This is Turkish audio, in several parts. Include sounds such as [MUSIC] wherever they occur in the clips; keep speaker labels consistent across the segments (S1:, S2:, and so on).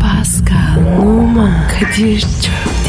S1: Pascal, Oman, Kadir çok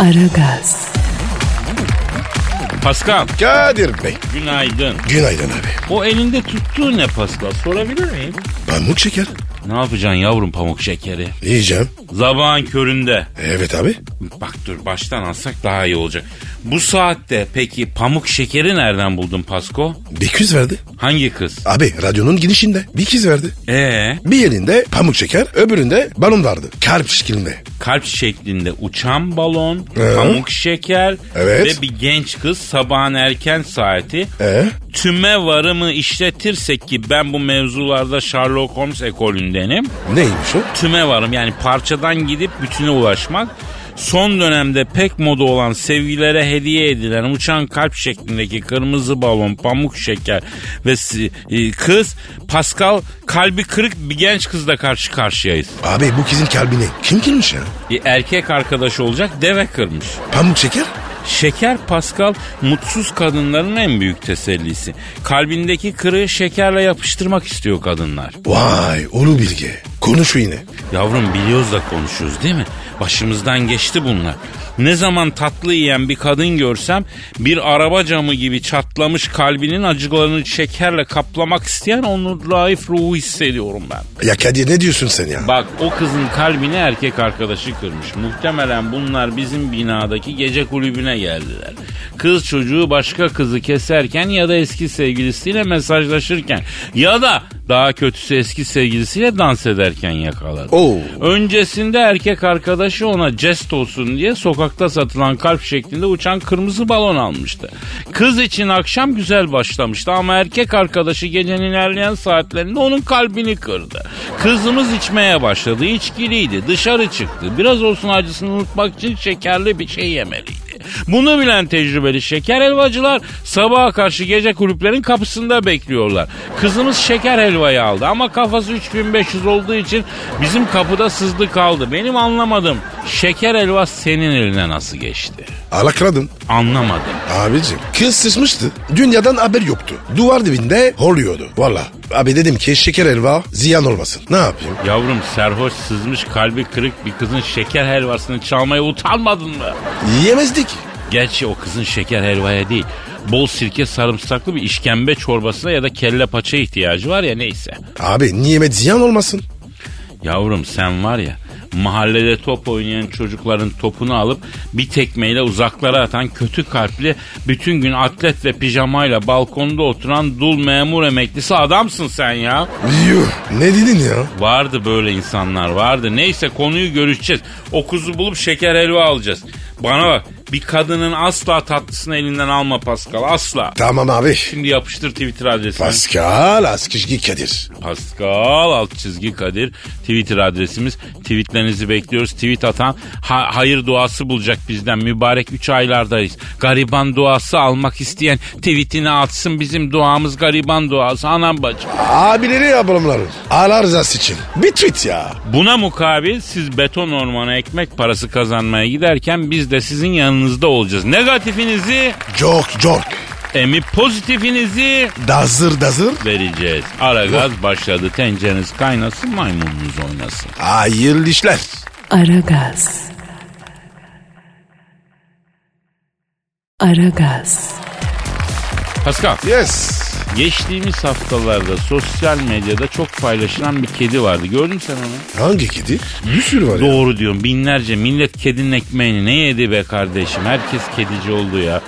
S1: Aragaz,
S2: Pascal,
S3: Kadir Bey.
S2: günaydın.
S3: Günaydın abi.
S2: O elinde tuttuğu ne Pascal? Sorabilir miyim?
S3: Pamuk şeker.
S2: Ne yapacaksın yavrum pamuk şekeri?
S3: Yiyeceğim.
S2: Zabağın köründe.
S3: Evet abi.
S2: Bak dur baştan alsak daha iyi olacak. Bu saatte peki pamuk şekeri nereden buldun Pasko?
S3: Bir kız verdi.
S2: Hangi kız?
S3: Abi radyonun girişinde bir kız verdi.
S2: Ee,
S3: Bir elinde pamuk şeker öbüründe balon vardı. Kalp şeklinde.
S2: kalp şeklinde uçan balon,
S3: Ee?
S2: pamuk şeker
S3: Evet.
S2: ve bir genç kız sabahın erken saati
S3: Ee?
S2: tüme varımı işletirsek ki ben bu mevzularda Sherlock Holmes ekolündenim.
S3: Neymiş o?
S2: tüme varım. Yani parçadan gidip bütüne ulaşmak. Son dönemde pek moda olan sevgilere hediye edilen uçan kalp şeklindeki kırmızı balon, pamuk şeker ve si- e, kız Pascal kalbi kırık bir genç kızla karşı karşıyayız.
S3: Abi bu kızın kalbini kim kırmış ya?
S2: E, erkek arkadaş olacak deve kırmış.
S3: Pamuk şeker?
S2: Şeker Pascal mutsuz kadınların en büyük tesellisi. Kalbindeki kırığı şekerle yapıştırmak istiyor kadınlar.
S3: Vay ulu bilgi. Konuş yine.
S2: Yavrum biliyoruz da konuşuyoruz değil mi? Başımızdan geçti bunlar. Ne zaman tatlı yiyen bir kadın görsem bir araba camı gibi çatlamış kalbinin acılarını şekerle kaplamak isteyen onu laif ruhu hissediyorum ben.
S3: Ya Kadir ne diyorsun sen ya?
S2: Bak o kızın kalbini erkek arkadaşı kırmış. Muhtemelen bunlar bizim binadaki gece kulübüne geldiler. Kız çocuğu başka kızı keserken ya da eski sevgilisiyle mesajlaşırken ya da daha kötüsü eski sevgilisiyle dans ederken yakaladı.
S3: Oo.
S2: Öncesinde erkek arkadaşı ona jest olsun diye sokakta satılan kalp şeklinde uçan kırmızı balon almıştı. Kız için akşam güzel başlamıştı ama erkek arkadaşı gecenin ilerleyen saatlerinde onun kalbini kırdı. Kızımız içmeye başladı, içkiliydi, dışarı çıktı. Biraz olsun acısını unutmak için şekerli bir şey yemeliydi. Bunu bilen tecrübeli şeker helvacılar sabaha karşı gece kulüplerin kapısında bekliyorlar. Kızımız şeker helvayı aldı ama kafası 3500 olduğu için bizim kapıda sızdı kaldı. Benim anlamadım. Şeker helva senin eline nasıl geçti?
S3: Alakladın.
S2: Anlamadım.
S3: Abicim kız sıçmıştı. Dünyadan haber yoktu. Duvar dibinde horluyordu. Valla. Abi dedim ki şeker helva ziyan olmasın. Ne yapayım?
S2: Yavrum serhoş sızmış kalbi kırık bir kızın şeker helvasını çalmaya utanmadın mı?
S3: Yiyemezdik.
S2: Gerçi o kızın şeker helvaya değil. Bol sirke sarımsaklı bir işkembe çorbasına ya da kelle paça ihtiyacı var ya neyse.
S3: Abi nimet ziyan olmasın.
S2: Yavrum sen var ya mahallede top oynayan çocukların topunu alıp bir tekmeyle uzaklara atan kötü kalpli bütün gün atlet ve pijamayla balkonda oturan dul memur emeklisi adamsın sen ya.
S3: Yuh. Ne dedin ya?
S2: Vardı böyle insanlar vardı. Neyse konuyu görüşeceğiz. O kuzu bulup şeker helva alacağız. Bana bak bir kadının asla tatlısını elinden alma Pascal asla.
S3: Tamam abi.
S2: Şimdi yapıştır Twitter adresini.
S3: Pascal Askışgi Kadir.
S2: Pascal alt çizgi Kadir Twitter adresimiz. Tweetlerinizi bekliyoruz. Tweet atan ha- hayır duası bulacak bizden. Mübarek 3 aylardayız. Gariban duası almak isteyen tweetini atsın. Bizim duamız gariban duası. Anam bacım.
S3: Abileri ablamları. Allah rızası için. Bir tweet ya.
S2: Buna mukabil siz beton ormana ekmek parası kazanmaya giderken biz de sizin yanınızda olacağız. Negatifinizi,
S3: Jork jork.
S2: emi pozitifinizi
S3: Dazır dazır.
S2: vereceğiz. Ara gaz başladı. Tencereniz kaynasın, maymununuz oynasın.
S3: Hayırlı işler.
S1: Aragaz. Aragaz,
S2: Pascal.
S3: Yes.
S2: Geçtiğimiz haftalarda sosyal medyada çok paylaşılan bir kedi vardı. Gördün mü sen onu?
S3: Hangi kedi? Bir sürü var ya.
S2: Doğru diyorum. Binlerce millet kedinin ekmeğini ne yedi be kardeşim? Herkes kedici oldu ya.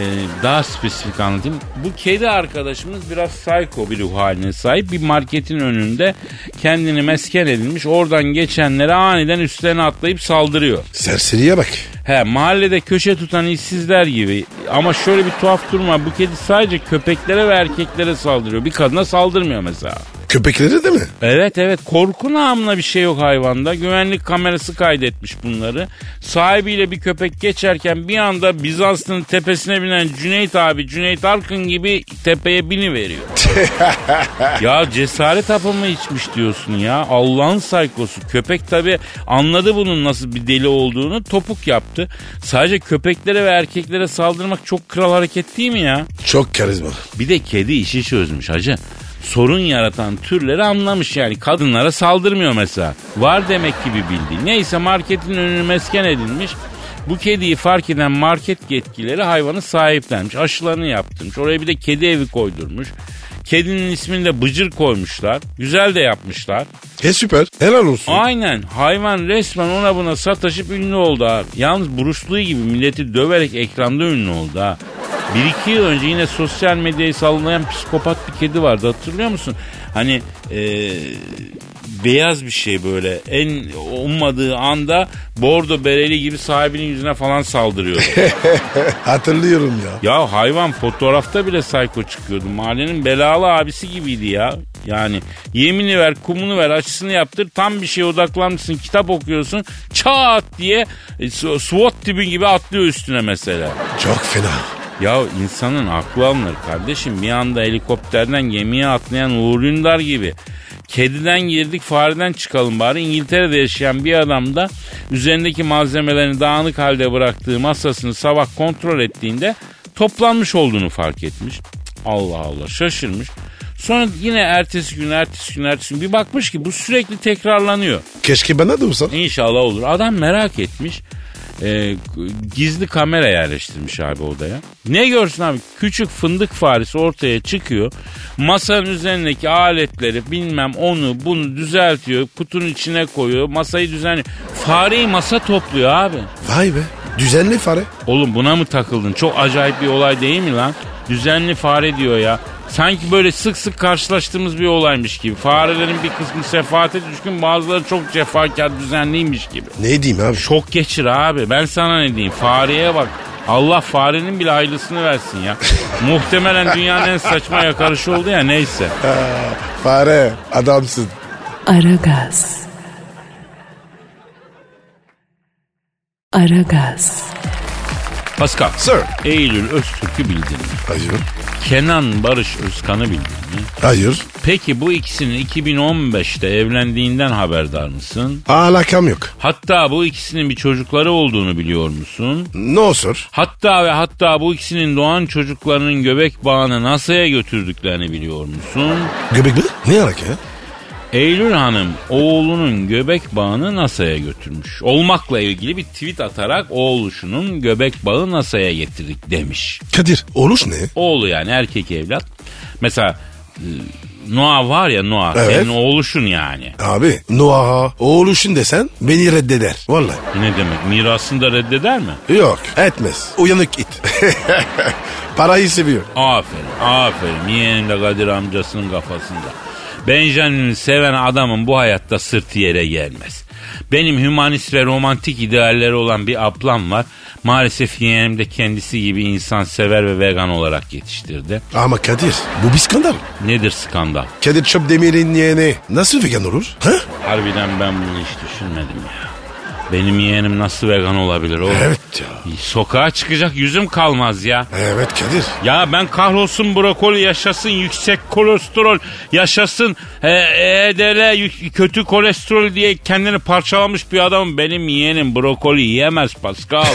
S2: Ee, daha spesifik anlatayım. Bu kedi arkadaşımız biraz psycho bir ruh haline sahip. Bir marketin önünde kendini mesken edilmiş. Oradan geçenlere aniden üstlerine atlayıp saldırıyor.
S3: Serseriye bak.
S2: He mahallede köşe tutan işsizler gibi. Ama şöyle bir tuhaf durum var. Bu kedi sadece köpeklere ve erkeklere saldırıyor. Bir kadına saldırmıyor mesela.
S3: Köpekleri de mi?
S2: Evet evet korku namına bir şey yok hayvanda. Güvenlik kamerası kaydetmiş bunları. Sahibiyle bir köpek geçerken bir anda Bizans'ın tepesine binen Cüneyt abi Cüneyt Arkın gibi tepeye bini veriyor. ya cesaret hapı mı içmiş diyorsun ya. Allah'ın saykosu. Köpek tabi anladı bunun nasıl bir deli olduğunu topuk yaptı. Sadece köpeklere ve erkeklere saldırmak çok kral hareket değil mi ya?
S3: Çok karizma.
S2: Bir de kedi işi çözmüş hacı. Sorun yaratan türleri anlamış yani. Kadınlara saldırmıyor mesela. Var demek gibi bildi. Neyse marketin önünü mesken edilmiş. Bu kediyi fark eden market yetkilileri hayvanı sahiplenmiş. Aşılarını yaptırmış. Oraya bir de kedi evi koydurmuş. Kedinin ismini de Bıcır koymuşlar. Güzel de yapmışlar.
S3: E süper. Helal olsun.
S2: Aynen hayvan resmen ona buna sataşıp ünlü oldu abi. Yalnız Bruce Lee gibi milleti döverek ekranda ünlü oldu ha. Bir iki yıl önce yine sosyal medyayı sallayan psikopat bir kedi vardı hatırlıyor musun? Hani eee, beyaz bir şey böyle en ummadığı anda bordo bereli gibi sahibinin yüzüne falan saldırıyordu.
S3: Hatırlıyorum ya.
S2: Ya hayvan fotoğrafta bile sayko çıkıyordu. Mahallenin belalı abisi gibiydi ya. Yani yemini ver, kumunu ver, açısını yaptır. Tam bir şeye odaklanmışsın, kitap okuyorsun. Çat diye e, S- SWAT tipi gibi atlıyor üstüne mesela.
S3: Çok fena.
S2: Ya insanın aklı alınır kardeşim. Bir anda helikopterden gemiye atlayan Uğur Ündar gibi. Kediden girdik fareden çıkalım bari. İngiltere'de yaşayan bir adam da üzerindeki malzemelerini dağınık halde bıraktığı masasını sabah kontrol ettiğinde toplanmış olduğunu fark etmiş. Cık, Allah Allah şaşırmış. Sonra yine ertesi gün ertesi gün ertesi gün bir bakmış ki bu sürekli tekrarlanıyor.
S3: Keşke bana da olsa.
S2: İnşallah olur. Adam merak etmiş. Ee, gizli kamera yerleştirmiş abi odaya. Ne görsün abi? Küçük fındık faresi ortaya çıkıyor. Masanın üzerindeki aletleri bilmem onu bunu düzeltiyor. Kutunun içine koyuyor. Masayı düzenliyor. Fareyi masa topluyor abi.
S3: Vay be. Düzenli fare.
S2: Oğlum buna mı takıldın? Çok acayip bir olay değil mi lan? Düzenli fare diyor ya. Sanki böyle sık sık karşılaştığımız bir olaymış gibi. Farelerin bir kısmı sefahate düşkün bazıları çok cefakar düzenliymiş gibi.
S3: Ne diyeyim abi? Şok.
S2: Şok geçir abi. Ben sana ne diyeyim? Fareye bak. Allah farenin bile hayırlısını versin ya. Muhtemelen dünyanın en saçma yakarışı oldu ya neyse.
S3: Fare. Adamsın.
S1: Aragaz. Aragaz.
S2: Pascal.
S3: Sir.
S2: Eylül Öztürk'ü bildin mi?
S3: Hayır.
S2: Kenan Barış Özkan'ı bildin mi?
S3: Hayır.
S2: Peki bu ikisinin 2015'te evlendiğinden haberdar mısın?
S3: Alakam yok.
S2: Hatta bu ikisinin bir çocukları olduğunu biliyor musun?
S3: No sir.
S2: Hatta ve hatta bu ikisinin doğan çocuklarının göbek bağını NASA'ya götürdüklerini biliyor musun?
S3: Göbek mi? Ne alaka ya?
S2: Eylül Hanım oğlunun göbek bağını NASA'ya götürmüş. Olmakla ilgili bir tweet atarak oğluşunun göbek bağı NASA'ya getirdik demiş.
S3: Kadir. Oluş ne?
S2: Oğlu yani erkek evlat. Mesela e, Noah var ya Noah
S3: Evet.
S2: senin oğluşun yani.
S3: Abi. Noah. Oğluşun desen beni reddeder. Vallahi.
S2: Ne demek mirasını da reddeder mi?
S3: Yok. Etmez. Uyanık it. [LAUGHS] Parayı seviyor.
S2: Aferin aferin yeğenim de Kadir amcasının kafasında. Benjamin'i seven adamın bu hayatta sırtı yere gelmez. Benim hümanist ve romantik idealleri olan bir ablam var. Maalesef yeğenim de kendisi gibi insan sever ve vegan olarak yetiştirdi.
S3: Ama Kadir. Bu bir skandal.
S2: Nedir skandal?
S3: Kadir Çöpdemir'in yeğeni nasıl vegan olur? Ha?
S2: Harbiden ben bunu hiç düşünmedim ya. Benim yeğenim nasıl vegan olabilir oğlum?
S3: Evet ya.
S2: Sokağa çıkacak yüzüm kalmaz ya.
S3: Evet Kadir. [LAUGHS]
S2: Ya ben kahrolsun brokoli yaşasın yüksek kolesterol yaşasın e, EDL yük- kötü kolesterol diye kendini parçalamış bir adam benim yeğenim brokoli yiyemez Pascal.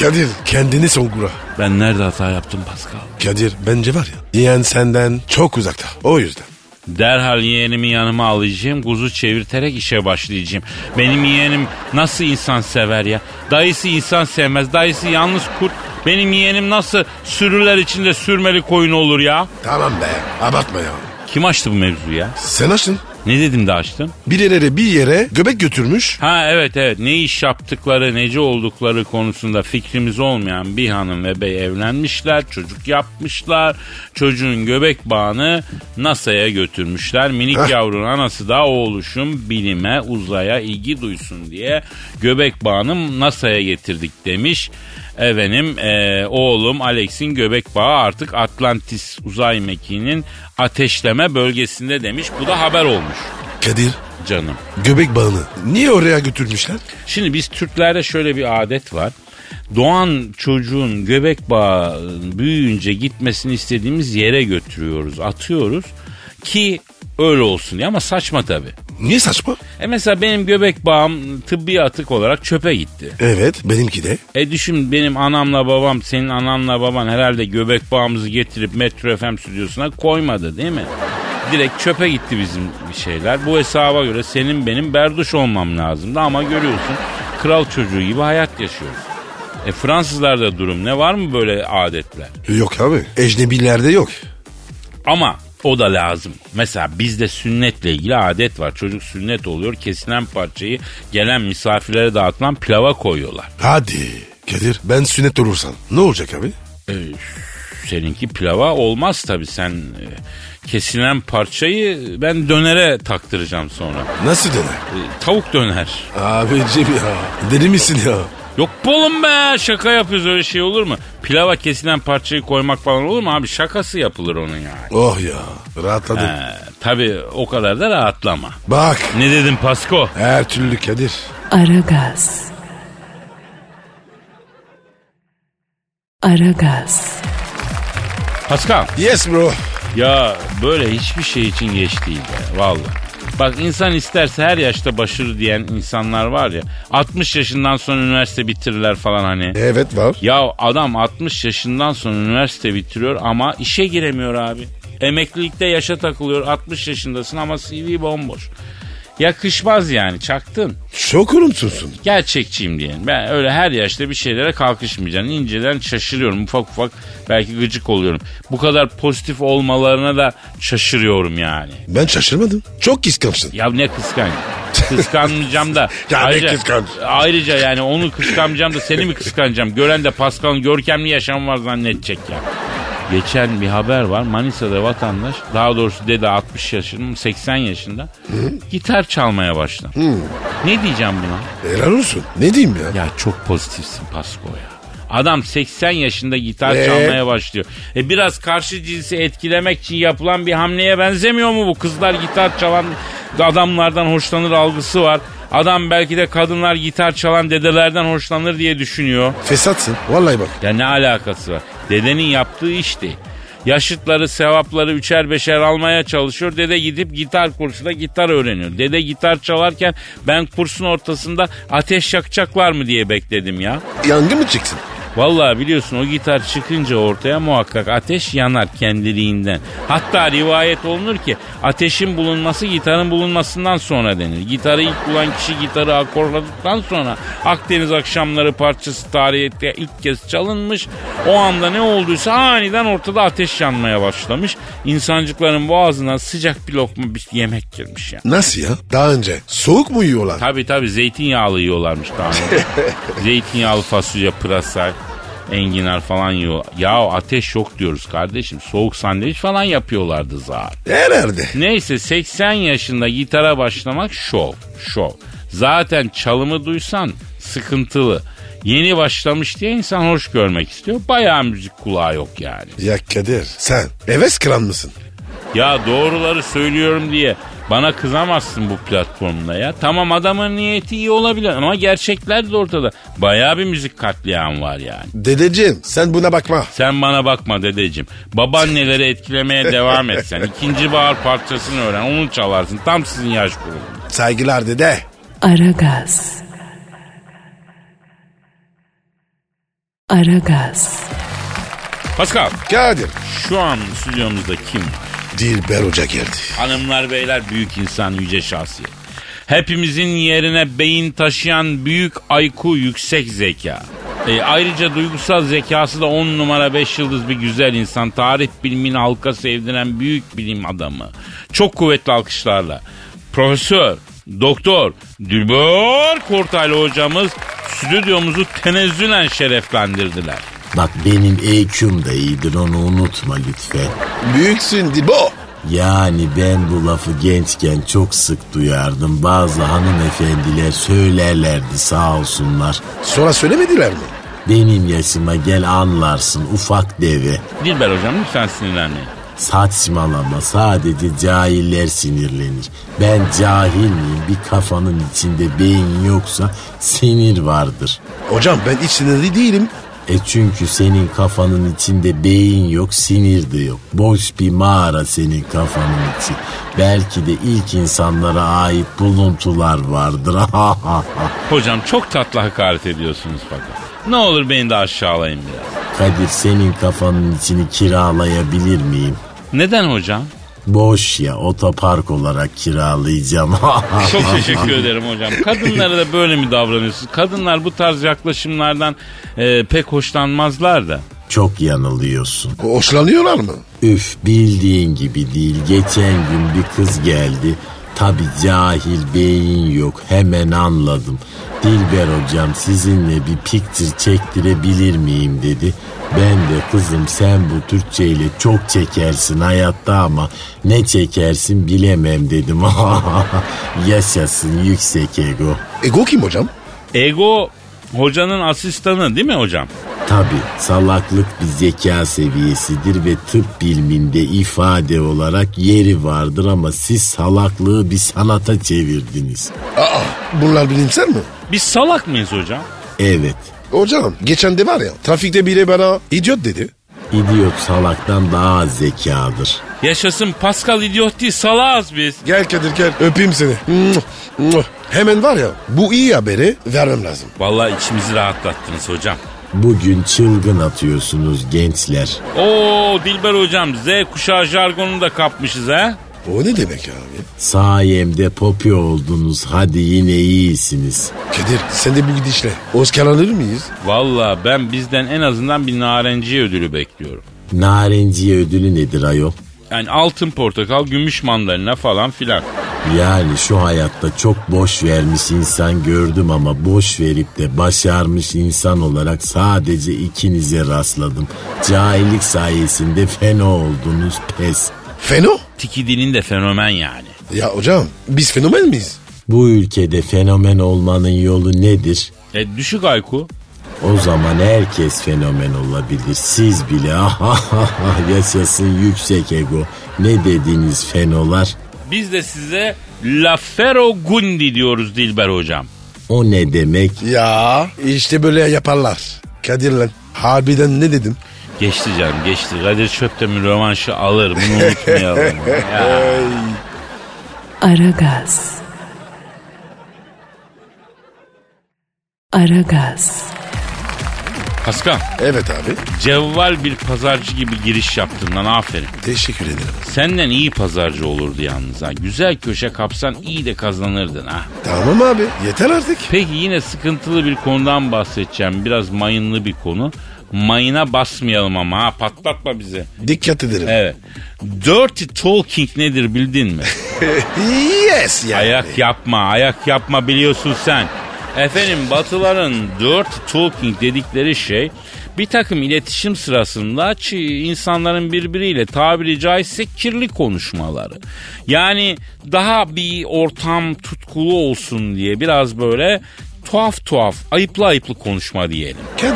S3: Kadir kendini songura.
S2: [LAUGHS] ben nerede hata yaptım Pascal?
S3: Kadir bence var ya yeğen senden çok uzakta. O yüzden.
S2: Derhal yeğenimi yanıma alacağım. Kuzu çevirterek işe başlayacağım. Benim yeğenim nasıl insan sever ya? Dayısı insan sevmez. Dayısı yalnız kurt. Benim yeğenim nasıl sürüler içinde sürmeli koyun olur ya?
S3: Tamam be abartma ya.
S2: Kim açtı bu mevzuyu ya?
S3: Sen açtın.
S2: Ne dedim de açtım?
S3: Bir yere bir yere göbek götürmüş.
S2: Ha evet evet ne iş yaptıkları nece oldukları konusunda fikrimiz olmayan bir hanım ve bey evlenmişler çocuk yapmışlar çocuğun göbek bağını NASA'ya götürmüşler minik
S3: Heh.
S2: yavrunun anası da oğluşum bilime uzaya ilgi duysun diye göbek bağını NASA'ya getirdik demiş. Efendim e, oğlum Alex'in göbek bağı artık Atlantis uzay mekiğinin ateşleme bölgesinde demiş. Bu da haber olmuş
S3: Kadir
S2: canım.
S3: göbek bağını niye oraya götürmüşler?
S2: Şimdi biz Türklerde şöyle bir adet var. Doğan çocuğun göbek bağı büyüyünce gitmesini istediğimiz yere götürüyoruz, atıyoruz ki öyle olsun diye ama saçma tabii.
S3: Niye saçma?
S2: E mesela benim göbek bağım tıbbi atık olarak çöpe gitti.
S3: Evet benimki de.
S2: E düşün benim anamla babam, senin ananla baban herhalde göbek bağımızı getirip Metro FM stüdyosuna koymadı değil mi? Direkt çöpe gitti bizim şeyler. Bu hesaba göre senin benim berduş olmam lazımdı ama görüyorsun kral çocuğu gibi hayat yaşıyoruz. E Fransızlarda durum ne var mı böyle adetler?
S3: Yok abi ecnebilerde yok.
S2: Ama o da lazım. Mesela bizde sünnetle ilgili adet var. Çocuk sünnet oluyor. Kesilen parçayı gelen misafirlere dağıtılan pilava koyuyorlar.
S3: Hadi Kadir ben sünnet olursam ne olacak abi?
S2: Ee, Seninki pilava olmaz tabii. Sen e, kesilen parçayı ben dönere taktıracağım sonra.
S3: Nasıl döner?
S2: E, tavuk döner.
S3: Abicim ya deli misin ya?
S2: Yok bu oğlum be şaka yapıyoruz öyle şey olur mu? Pilava kesilen parçayı koymak falan olur mu abi? Şakası yapılır onun yani.
S3: Oh ya rahatladım.
S2: E, tabii o kadar da rahatlama.
S3: Bak
S2: Ne dedim Pasko?
S3: her türlü Kadir.
S1: Aragaz. Aragaz.
S2: Pascal.
S3: Yes bro.
S2: Ya böyle hiçbir şey için geç değil be valla. Bak insan isterse her yaşta başarı diyen insanlar var ya 60 yaşından sonra üniversite bitirirler falan hani.
S3: Evet var.
S2: Ya adam 60 yaşından sonra üniversite bitiriyor ama işe giremiyor abi. Emeklilikte yaşa takılıyor 60 yaşındasın ama CV bomboş. Yakışmaz yani çaktın.
S3: Çok olumsuzsun.
S2: Gerçekçiyim diyelim. Ben öyle her yaşta bir şeylere kalkışmayacağım. İnceden şaşırıyorum ufak ufak. Belki gıcık oluyorum. Bu kadar pozitif olmalarına da şaşırıyorum yani.
S3: Ben şaşırmadım. Çok kıskançsın.
S2: Ya ne kıskanç. Kıskanmayacağım da.
S3: [LAUGHS] Ya ne kıskanç.
S2: Ayrıca yani onu kıskanmayacağım da seni mi kıskanacağım? Gören de Pascal'ın görkemli yaşamı var zannedecek ya. Geçen bir haber var. Manisa'da vatandaş daha doğrusu dede 60 yaşında 80 yaşında gitar çalmaya başladı. Ne diyeceğim buna?
S3: Helal olsun. Ne diyeyim ya?
S2: Ya çok pozitifsin Pasko ya. Adam 80 yaşında gitar
S3: Ee?
S2: çalmaya başlıyor. E biraz karşı cinsi etkilemek için yapılan bir hamleye benzemiyor mu bu? Kızlar gitar çalan adamlardan hoşlanır algısı var. Adam belki de kadınlar gitar çalan dedelerden hoşlanır diye düşünüyor.
S3: Fesatsın. Vallahi bak.
S2: Ya ne alakası var? Dedenin yaptığı işti. Yaşıtları sevapları üçer beşer almaya çalışıyor. Dede gidip gitar kursuna gitar öğreniyor. Dede gitar çalarken ben kursun ortasında ateş yakacaklar mı diye bekledim ya.
S3: Yangın mı çıksın?
S2: Vallahi biliyorsun o gitar çıkınca ortaya muhakkak ateş yanar kendiliğinden. Hatta rivayet olunur ki ateşin bulunması gitarın bulunmasından sonra denir. Gitarı ilk bulan kişi gitarı akorladıktan sonra Akdeniz akşamları parçası tarihte ilk kez çalınmış. O anda ne olduysa aniden ortada ateş yanmaya başlamış. İnsancıkların boğazına sıcak bir lokma bir yemek girmiş ya.
S3: Nasıl ya? Daha önce soğuk mu yiyorlar?
S2: Tabi tabi zeytinyağlı yiyorlarmış daha önce. zeytinyağlı fasulye, pırasa, enginar falan yiyor. Ya ateş yok diyoruz kardeşim. Soğuk sandviç falan yapıyorlardı zar.
S3: Herhalde.
S2: Neyse 80 yaşında gitara başlamak şov, şov. Zaten çalımı duysan sıkıntılı. Yeni başlamış diye insan hoş görmek istiyor. Bayağı müzik kulağı yok yani.
S3: Ya Kadir sen heves kıran mısın?
S2: Ya doğruları söylüyorum diye bana kızamazsın bu platformda ya. Tamam adamın niyeti iyi olabilir ama gerçekler de ortada. Bayağı bir müzik katliam var yani.
S3: Dedeciğim sen buna bakma.
S2: Sen bana bakma dedeciğim. Babaanneleri etkilemeye devam et sen. İkinci bahar parçasını öğren onu çalarsın. Tam sizin yaş grubunuz.
S3: Saygılar dede.
S1: Aragaz. Aragaz.
S2: Pascal
S3: Kadir.
S2: şu an stüdyomuzda kim var?
S3: Dilber Hoca geldi.
S2: Hanımlar beyler büyük insan yüce şahsiyet. Hepimizin yerine beyin taşıyan büyük IQ yüksek zeka. E, ayrıca duygusal zekası da 10 numara 5 yıldız bir güzel insan. Tarih bilimini halka sevdiren büyük bilim adamı. Çok kuvvetli alkışlarla. Profesör, doktor, Dilber Kortaylı hocamız stüdyomuzu tenezzülen şereflendirdiler.
S4: Bak benim EQ'm da iyidir onu unutma lütfen.
S3: Büyüksün Dilbo.
S4: Yani ben bu lafı gençken çok sık duyardım. Bazı hanımefendiler söylerlerdi sağ olsunlar.
S3: Sonra söylemediler mi?
S4: Benim yaşıma gel anlarsın ufak deve.
S2: Dilber hocam lütfen sinirlenmeyin.
S4: Saçmalama sadece cahiller sinirlenir. Ben cahil miyim? Bir kafanın içinde beyin yoksa sinir vardır.
S3: Hocam ben hiç sinirli değilim.
S4: E çünkü senin kafanın içinde beyin yok, sinir de yok. Boş bir mağara senin kafanın içi. Belki de ilk insanlara ait buluntular vardır. [LAUGHS]
S2: Hocam çok tatlı hakaret ediyorsunuz fakat. Ne olur beni de aşağılayın biraz.
S4: Kadir senin kafanın içini kiralayabilir miyim?
S2: Neden hocam?
S4: Boş ya otopark olarak kiralayacağım. [LAUGHS]
S2: Çok teşekkür ederim hocam. Kadınlara da böyle mi davranıyorsunuz? Kadınlar bu tarz yaklaşımlardan e, pek hoşlanmazlar da.
S4: Çok yanılıyorsun.
S3: Hoşlanıyorlar mı?
S4: Üf bildiğin gibi değil. Geçen gün bir kız geldi. Tabi cahil beyin yok hemen anladım. Dilber hocam sizinle bir picture çektirebilir miyim dedi. Ben de kızım sen bu Türkçeyle çok çekersin hayatta ama ne çekersin bilemem dedim. [LAUGHS] Yaşasın yüksek ego.
S3: Ego kim hocam?
S2: Ego hocanın asistanı değil mi hocam?
S4: Tabi salaklık bir zeka seviyesidir ve tıp biliminde ifade olarak yeri vardır ama siz salaklığı bir sanata çevirdiniz.
S3: Aa bunlar bilimsel mi?
S2: Biz salak mıyız hocam?
S4: Evet,
S3: Hocam geçen de var ya trafikte biri bana idiot dedi.
S4: idiot salaktan daha az zekadır.
S2: Yaşasın Pascal idiot değil salağız biz.
S3: Gel Kadir gel öpeyim seni. Mwah, mwah. Hemen var ya bu iyi haberi vermem lazım.
S2: Vallahi içimizi rahatlattınız hocam.
S4: Bugün çılgın atıyorsunuz gençler.
S2: Oo Dilber hocam Z kuşağı jargonunu da kapmışız ha.
S3: O ne demek ya abi?
S4: Sayemde popi oldunuz hadi yine iyisiniz.
S3: Kadir sen de bu gidişle Oscar alır mıyız?
S2: Vallahi ben bizden en azından bir narenciye ödülü bekliyorum.
S4: Narenciye ödülü nedir ayol?
S2: Yani altın portakal, gümüş mandalina falan filan.
S4: Yani şu hayatta çok boş vermiş insan gördüm ama boş verip de başarmış insan olarak sadece ikinize rastladım. Cahillik sayesinde fena oldunuz pes.
S3: Feno?
S2: Tikidinin de fenomen yani.
S3: Ya hocam biz fenomen miyiz?
S4: Bu ülkede fenomen olmanın yolu nedir?
S2: E düşük IQ.
S4: O zaman herkes fenomen olabilir. Siz bile yaşasın yüksek ego. Ne dediğiniz fenolar?
S2: Biz de size Lafero Gundi diyoruz Dilber hocam.
S4: O ne demek?
S3: Ya işte böyle yaparlar. Kadir lan harbiden ne dedim?
S2: Geçti canım geçti. Kadir Çöptemir rövanşı alır bunu unutmayalım. ya.
S1: Aragaz. Aragaz.
S2: Paskal
S3: Evet abi
S2: cevval bir pazarcı gibi giriş yaptın lan aferin.
S3: teşekkür ederim.
S2: Senden iyi pazarcı olurdu yalnız ha. Güzel köşe kapsan iyi de kazanırdın ha.
S3: Tamam abi yeter artık.
S2: Peki yine sıkıntılı bir konudan bahsedeceğim. Biraz mayınlı bir konu. Mayına basmayalım ama ha patlatma bizi.
S3: Dikkat ederim.
S2: Evet. Dirty talking nedir bildin mi?
S3: Yes yani.
S2: ayak yapma, ayak yapma biliyorsun sen. Efendim batıların dirty talking dedikleri şey bir takım iletişim sırasında çi- insanların birbiriyle tabiri caizse kirli konuşmaları. Yani daha bir ortam tutkulu olsun diye biraz böyle tuhaf tuhaf, ayıplı ayıplı konuşma diyelim.
S3: Kadir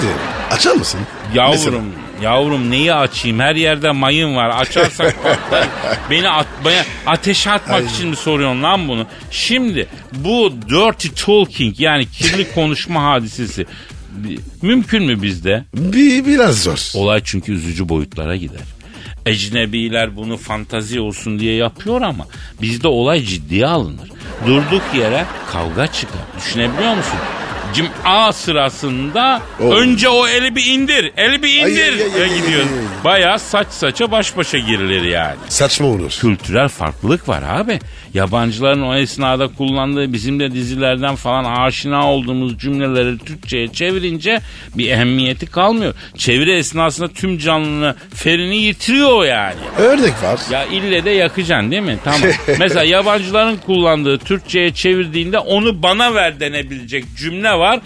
S3: açar mısın?
S2: Yavrum,
S3: Mesela.
S2: yavrum neyi açayım? Her yerde mayın var. Açarsak patlar. Beni atmaya, ateşe atmak için mi soruyorsun lan bunu? Şimdi bu dirty talking yani kirli konuşma [LAUGHS] hadisesi bi- mümkün mü bizde?
S3: Bir, biraz zor.
S2: Olay çünkü üzücü boyutlara gider. Ecnebiler bunu fantazi olsun diye yapıyor ama bizde olay ciddiye alınır. Durduk yere kavga çıkar. Düşünebiliyor musun? Cima sırasında
S3: Oo.
S2: önce o eli bir indir, eli bir
S3: Ay,
S2: indir
S3: ay, ay,
S2: ya
S3: ay,
S2: gidiyor.
S3: ay, ay.
S2: Bayağı saç saça baş başa girilir yani.
S3: Saçma olur.
S2: Kültürel farklılık var abi. Yabancıların o esnada kullandığı bizim de dizilerden falan aşina olduğumuz cümleleri Türkçe'ye çevirince bir ehemmiyeti kalmıyor. Çeviri esnasında tüm canlını ferini yitiriyor yani.
S3: Ördek var.
S2: Ya ille de yakacaksın değil mi? Tamam. Mesela yabancıların kullandığı Türkçe'ye çevirdiğinde onu bana ver denebilecek cümle var.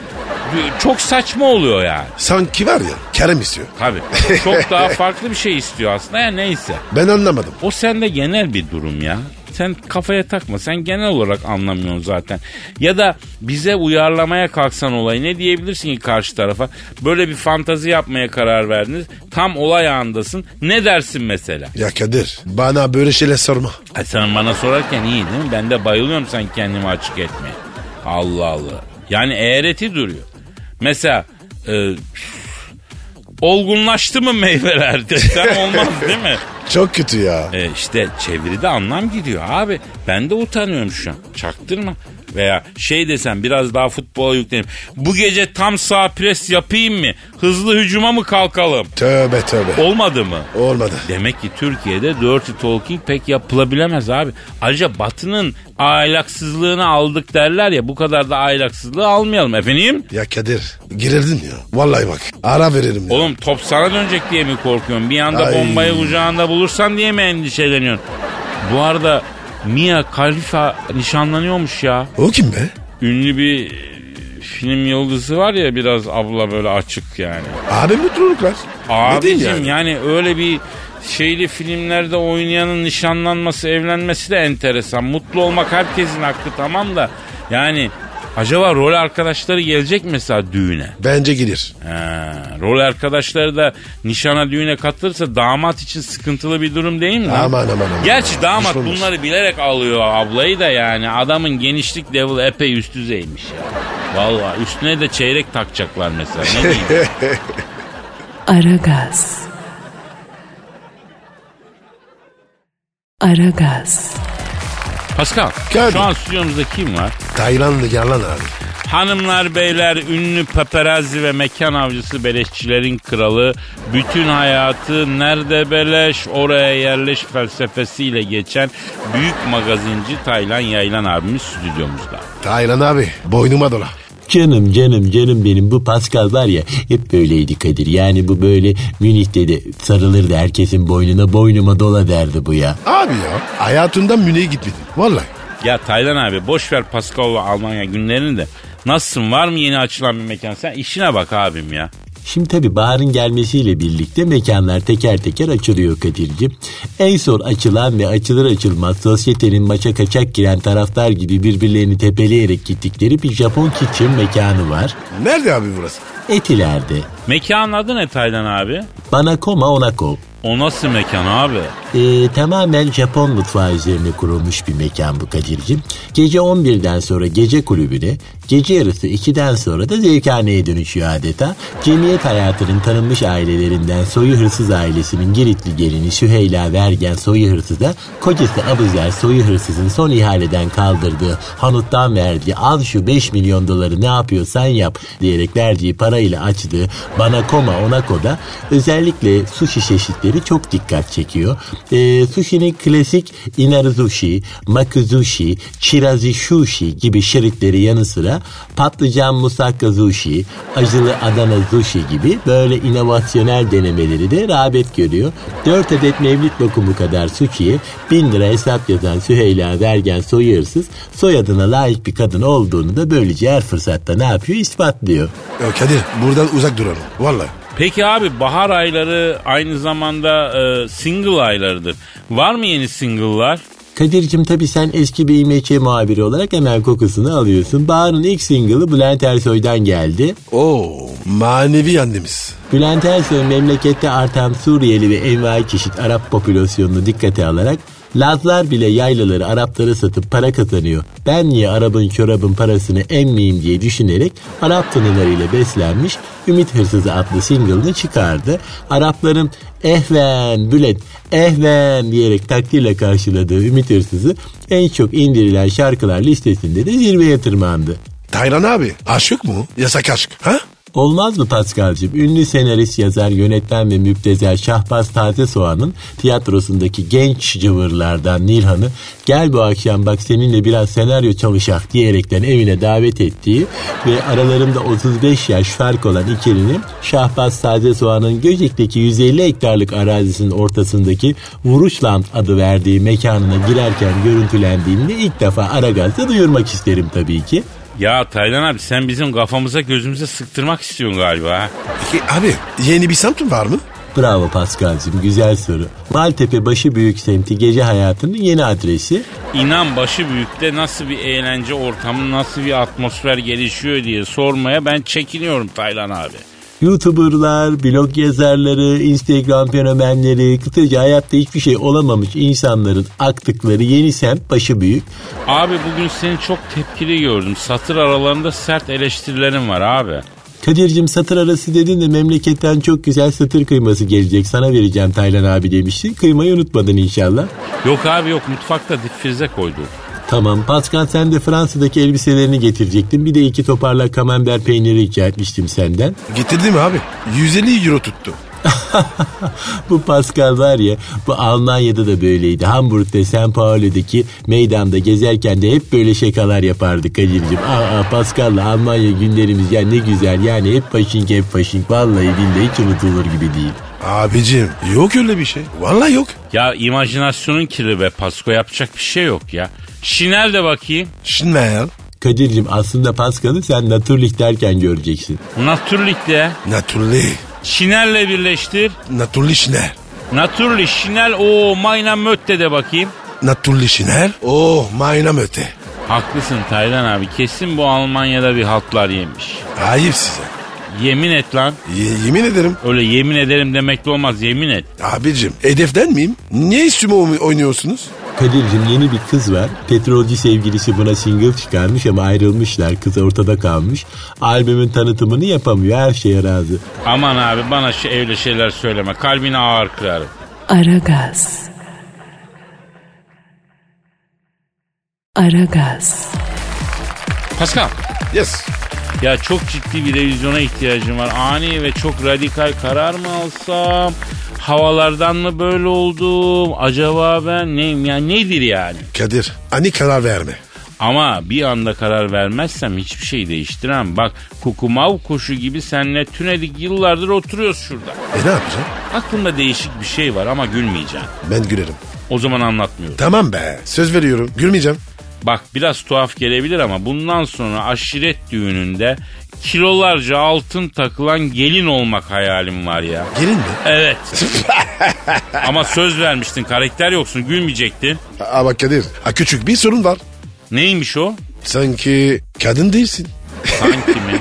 S2: Çok saçma oluyor yani.
S3: Sanki var ya kerem istiyor.
S2: Tabii. Çok daha farklı bir şey istiyor aslında ya neyse.
S3: Ben anlamadım.
S2: O sende genel bir durum ya. Sen kafaya takma. Sen genel olarak anlamıyorsun zaten. Ya da bize uyarlamaya kalksan olayı ne diyebilirsin ki karşı tarafa? Böyle bir fantazi yapmaya karar verdiniz. Tam olay anındasın. Ne dersin mesela?
S3: Ya Kadir bana böyle şeyler sorma.
S2: Ha, sen bana sorarken iyi değil mi? Ben de bayılıyorum sen kendimi açık etmeye. Allah Allah. Yani eğreti duruyor. Mesela e, olgunlaştı mı meyveler [LAUGHS] desem olmaz değil mi?
S3: Çok kötü ya.
S2: E, işte çeviride anlam gidiyor abi. Ben de utanıyorum şu an. Çaktırma. Veya şey desem biraz daha futbola yükleneyim. Bu gece tam sağ pres yapayım mı? Hızlı hücuma mı kalkalım?
S3: Tövbe tövbe.
S2: Olmadı mı?
S3: Olmadı.
S2: Demek ki Türkiye'de dirty talking pek yapılabilemez abi. Ayrıca batının aylaksızlığını aldık derler ya bu kadar da aylaksızlığı almayalım efendim.
S3: Ya Kadir girirdin ya. Vallahi bak ara veririm ya.
S2: Oğlum top sana dönecek diye mi korkuyorsun? Bir anda
S3: Ay.
S2: bombayı kucağında bulursan diye mi endişeleniyorsun? Bu arada Mia Khalifa nişanlanıyormuş ya.
S3: O kim be?
S2: Ünlü bir e, film yıldızı var ya biraz abla böyle açık yani.
S3: Abi mutluluklar. Ne diyeyim
S2: Abicim yani? öyle bir şeyli filmlerde oynayanın nişanlanması, evlenmesi de enteresan. Mutlu olmak herkesin hakkı tamam da yani acaba rol arkadaşları gelecek mi mesela düğüne.
S3: Bence gelir.
S2: Ha, rol arkadaşları da nişana düğüne katılırsa damat için sıkıntılı bir durum değil mi? lan?
S3: Aman aman aman.
S2: Gerçi damat
S3: Düşmanmış.
S2: bunları bilerek alıyor ablayı da yani adamın genişlik level epey üst düzeymiş ya. Valla üstüne de çeyrek takacaklar mesela ne diyeyim.
S3: [LAUGHS]
S1: Aragaz. Aragaz.
S2: Pascal
S3: Geldim.
S2: şu an stüdyomuzda kim var?
S3: Taylandlı yalan abi.
S2: Hanımlar beyler ünlü paparazzi ve mekan avcısı beleşçilerin kralı bütün hayatı nerede beleş oraya yerleş felsefesiyle geçen büyük magazinci Taylan Yaylan abimiz stüdyomuzda.
S3: Taylan abi boynuma dola.
S4: Canım canım canım benim bu Pascal var ya hep böyleydi Kadir. Yani bu böyle Münih'te de sarılırdı herkesin boynuna boynuma dola derdi bu ya.
S3: Abi ya hayatımda Münih'e gitmedim. Vallahi.
S2: Ya Taylan abi boş ver Pascal'la Almanya günlerini de nasılsın var mı yeni açılan bir mekan sen işine bak abim ya.
S4: Şimdi tabi baharın gelmesiyle birlikte mekanlar teker teker açılıyor Kadir'cim. En son açılan ve açılır açılmaz sosyetenin maça kaçak giren taraftar gibi birbirlerini tepeleyerek gittikleri bir Japon kitchen mekanı var.
S3: Nerede abi burası?
S4: Etiler'de.
S2: Mekanın adı ne Taylan abi?
S4: Banakoma Onako.
S2: O nasıl mekan abi?
S4: Ee, tamamen Japon mutfağı üzerine kurulmuş bir mekan bu Kadir'cim. Gece 11'den sonra gece kulübüne, gece yarısı 2'den sonra da zevkhaneye dönüşüyor adeta. Cemiyet hayatının tanınmış ailelerinden Soyu Hırsız ailesinin Giritli gelini Süheyla Vergen Soyu Hırsız'a kocası Abuzer Soyu Hırsız'ın son ihaleden kaldırdığı hanuttan verdiği al şu 5 milyon doları ne yapıyorsan yap diyerek verdiği parayla açtığı Banakoma Onako'da özellikle sushi çeşitleri çok dikkat çekiyor. Ee, sushi'nin klasik inarizushi, makuzushi, chirazushi gibi şeritleri yanı sıra patlıcan musakka sushi, acılı Adana sushi gibi böyle inovasyonel denemeleri de rağbet görüyor. 4 adet mevlüt lokumu kadar sushi'ye 1000 lira hesap yazan Süheyla Vergen soyarsız soyadına layık bir kadın olduğunu da böylece her fırsatta ne yapıyor ispatlıyor.
S3: Ya Kadir buradan uzak duralım. Vallahi.
S2: Peki abi bahar ayları aynı zamanda e, single aylarıdır. Var mı yeni single'lar?
S4: Kadir'cim tabi sen eski bir İMÇ muhabiri olarak hemen kokusunu alıyorsun. Bahar'ın ilk single'ı Bülent Ersoy'dan geldi.
S3: Oo manevi annemiz.
S4: Bülent Ersoy memlekette artan Suriyeli ve envai çeşit Arap popülasyonunu dikkate alarak Lazlar bile yaylaları Araplara satıp para kazanıyor. Ben niye Arap'ın çorabın parasını emmeyeyim diye düşünerek Arap tanılarıyla beslenmiş Ümit Hırsızı adlı single'ını çıkardı. Arapların ehven Bülent ehven diyerek takdirle karşıladığı Ümit Hırsızı en çok indirilen şarkılar listesinde de zirveye tırmandı.
S3: Taylan abi aşık mı? Yasak aşk. Ha?
S4: Olmaz mı Paskal'cığım? Ünlü senarist, yazar, yönetmen ve müptezel Şahbaz Taze Soğan'ın tiyatrosundaki genç cıvırlardan Nilhan'ı gel bu akşam bak seninle biraz senaryo çalışak diyerekten evine davet ettiği ve aralarında 35 yaş fark olan ikilinin Şahbaz Taze Soğan'ın Göcek'teki 150 hektarlık arazisinin ortasındaki Vuruşland adı verdiği mekanına girerken görüntülendiğini ilk defa Aragaz'da duyurmak isterim tabii ki.
S2: Ya Taylan abi sen bizim kafamıza gözümüze sıktırmak istiyorsun galiba. ha.
S3: Peki abi yeni bir semtin var mı?
S4: Bravo Paskal'cığım güzel soru. Maltepe Başı Büyük semti gece hayatının yeni adresi.
S2: İnan başı büyükte nasıl bir eğlence ortamı, nasıl bir atmosfer gelişiyor diye sormaya ben çekiniyorum Taylan abi.
S4: YouTuber'lar, blog yazarları, Instagram fenomenleri, kısaca hayatta hiçbir şey olamamış insanların aktıkları yeni semt başı büyük.
S2: Abi bugün seni çok tepkili gördüm. Satır aralarında sert eleştirilerin var abi.
S4: Kadir'cim satır arası dedin de memleketten çok güzel satır kıyması gelecek. Sana vereceğim Taylan abi demiştin. Kıymayı unutmadın inşallah.
S2: Yok abi yok mutfakta dipfrize koydu.
S4: Tamam Pascal sen de Fransa'daki elbiselerini getirecektin. Bir de iki toparlak kamember peyniri rica etmiştim senden.
S3: Getirdim abi. 150 euro tuttu.
S4: [LAUGHS] bu Pascal var ya bu Almanya'da da böyleydi. Hamburg'da San Paulo'daki meydanda gezerken de hep böyle şakalar yapardık Kadir'cim. Aa, aa Pascal'la Almanya günlerimiz ya ne güzel yani hep faşink hep faşink. Vallahi billahi hiç unutulur gibi değil.
S3: Abicim yok öyle bir şey. Vallahi yok.
S2: Ya imajinasyonun kirli be Pasko yapacak bir şey yok ya. Şinel de bakayım.
S3: Şimdi ya.
S4: Kadir'cim aslında Pascal'ı sen Naturlich derken göreceksin.
S2: Naturlik de.
S3: Naturli.
S2: Şinelle birleştir.
S3: Naturli şiner.
S2: Naturli, şinel, o mayna mötte de bakayım.
S3: Naturli şiner. Oh maynam öte.
S2: Haklısın Taylan abi kesin bu Almanya'da bir haltlar yemiş.
S3: Ayıp size.
S2: Yemin et lan.
S3: Ye- yemin ederim.
S2: Öyle yemin ederim demekle olmaz yemin et.
S3: Abicim hedefden miyim? Niye üstüme oy- oynuyorsunuz?
S4: Kadir'cim yeni bir kız var. Petrolcü sevgilisi buna single çıkarmış ama ayrılmışlar. Kız ortada kalmış. Albümün tanıtımını yapamıyor. Her şeye razı.
S2: Aman abi bana şu evli şeyler söyleme kalbini ağır kırarım.
S1: Aragaz. Aragaz.
S2: Pascal
S3: Yes.
S2: ya çok ciddi bir revizyona ihtiyacım var. Ani ve çok radikal karar mı alsam? Havalardan mı böyle oldum? Acaba ben neyim ya nedir yani?
S3: Kadir hani karar verme.
S2: Ama bir anda karar vermezsem hiçbir şey değiştiremem. Bak kukumav kuşu gibi senle tünedik yıllardır oturuyoruz şurada.
S3: E ne yapacağım?
S2: Aklımda değişik bir şey var ama gülmeyeceğim.
S3: Ben gülerim.
S2: O zaman anlatmıyorum.
S3: Tamam be söz veriyorum gülmeyeceğim.
S2: Bak biraz tuhaf gelebilir ama bundan sonra aşiret düğününde kilolarca altın takılan gelin olmak hayalim var ya.
S3: Gelin mi? [LAUGHS]
S2: Evet. ama söz vermiştin karakter yoksun gülmeyecektin.
S3: Aa bak Kadir ha, küçük bir sorun var.
S2: Neymiş o?
S3: Sanki kadın değilsin.
S2: Sanki mi?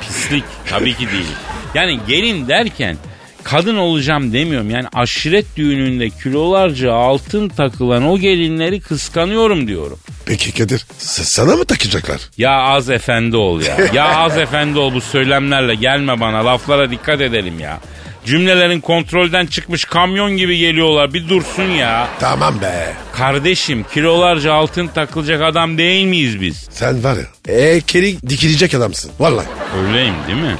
S2: Pislik. Tabii ki değil. Yani gelin derken kadın olacağım demiyorum. Yani aşiret düğününde kilolarca altın takılan o gelinleri kıskanıyorum diyorum.
S3: Peki Kadir s- sana mı takacaklar?
S2: Ya az efendi ol ya. Ya az efendi ol bu söylemlerle gelme bana. Laflara dikkat edelim ya. Cümlelerin kontrolden çıkmış kamyon gibi geliyorlar. Bir dursun ya.
S3: Tamam be.
S2: Kardeşim kilolarca altın takılacak adam değil miyiz biz?
S3: Sen var ya heykeli dikilecek adamsın. Vallahi.
S2: Öyleyim değil mi?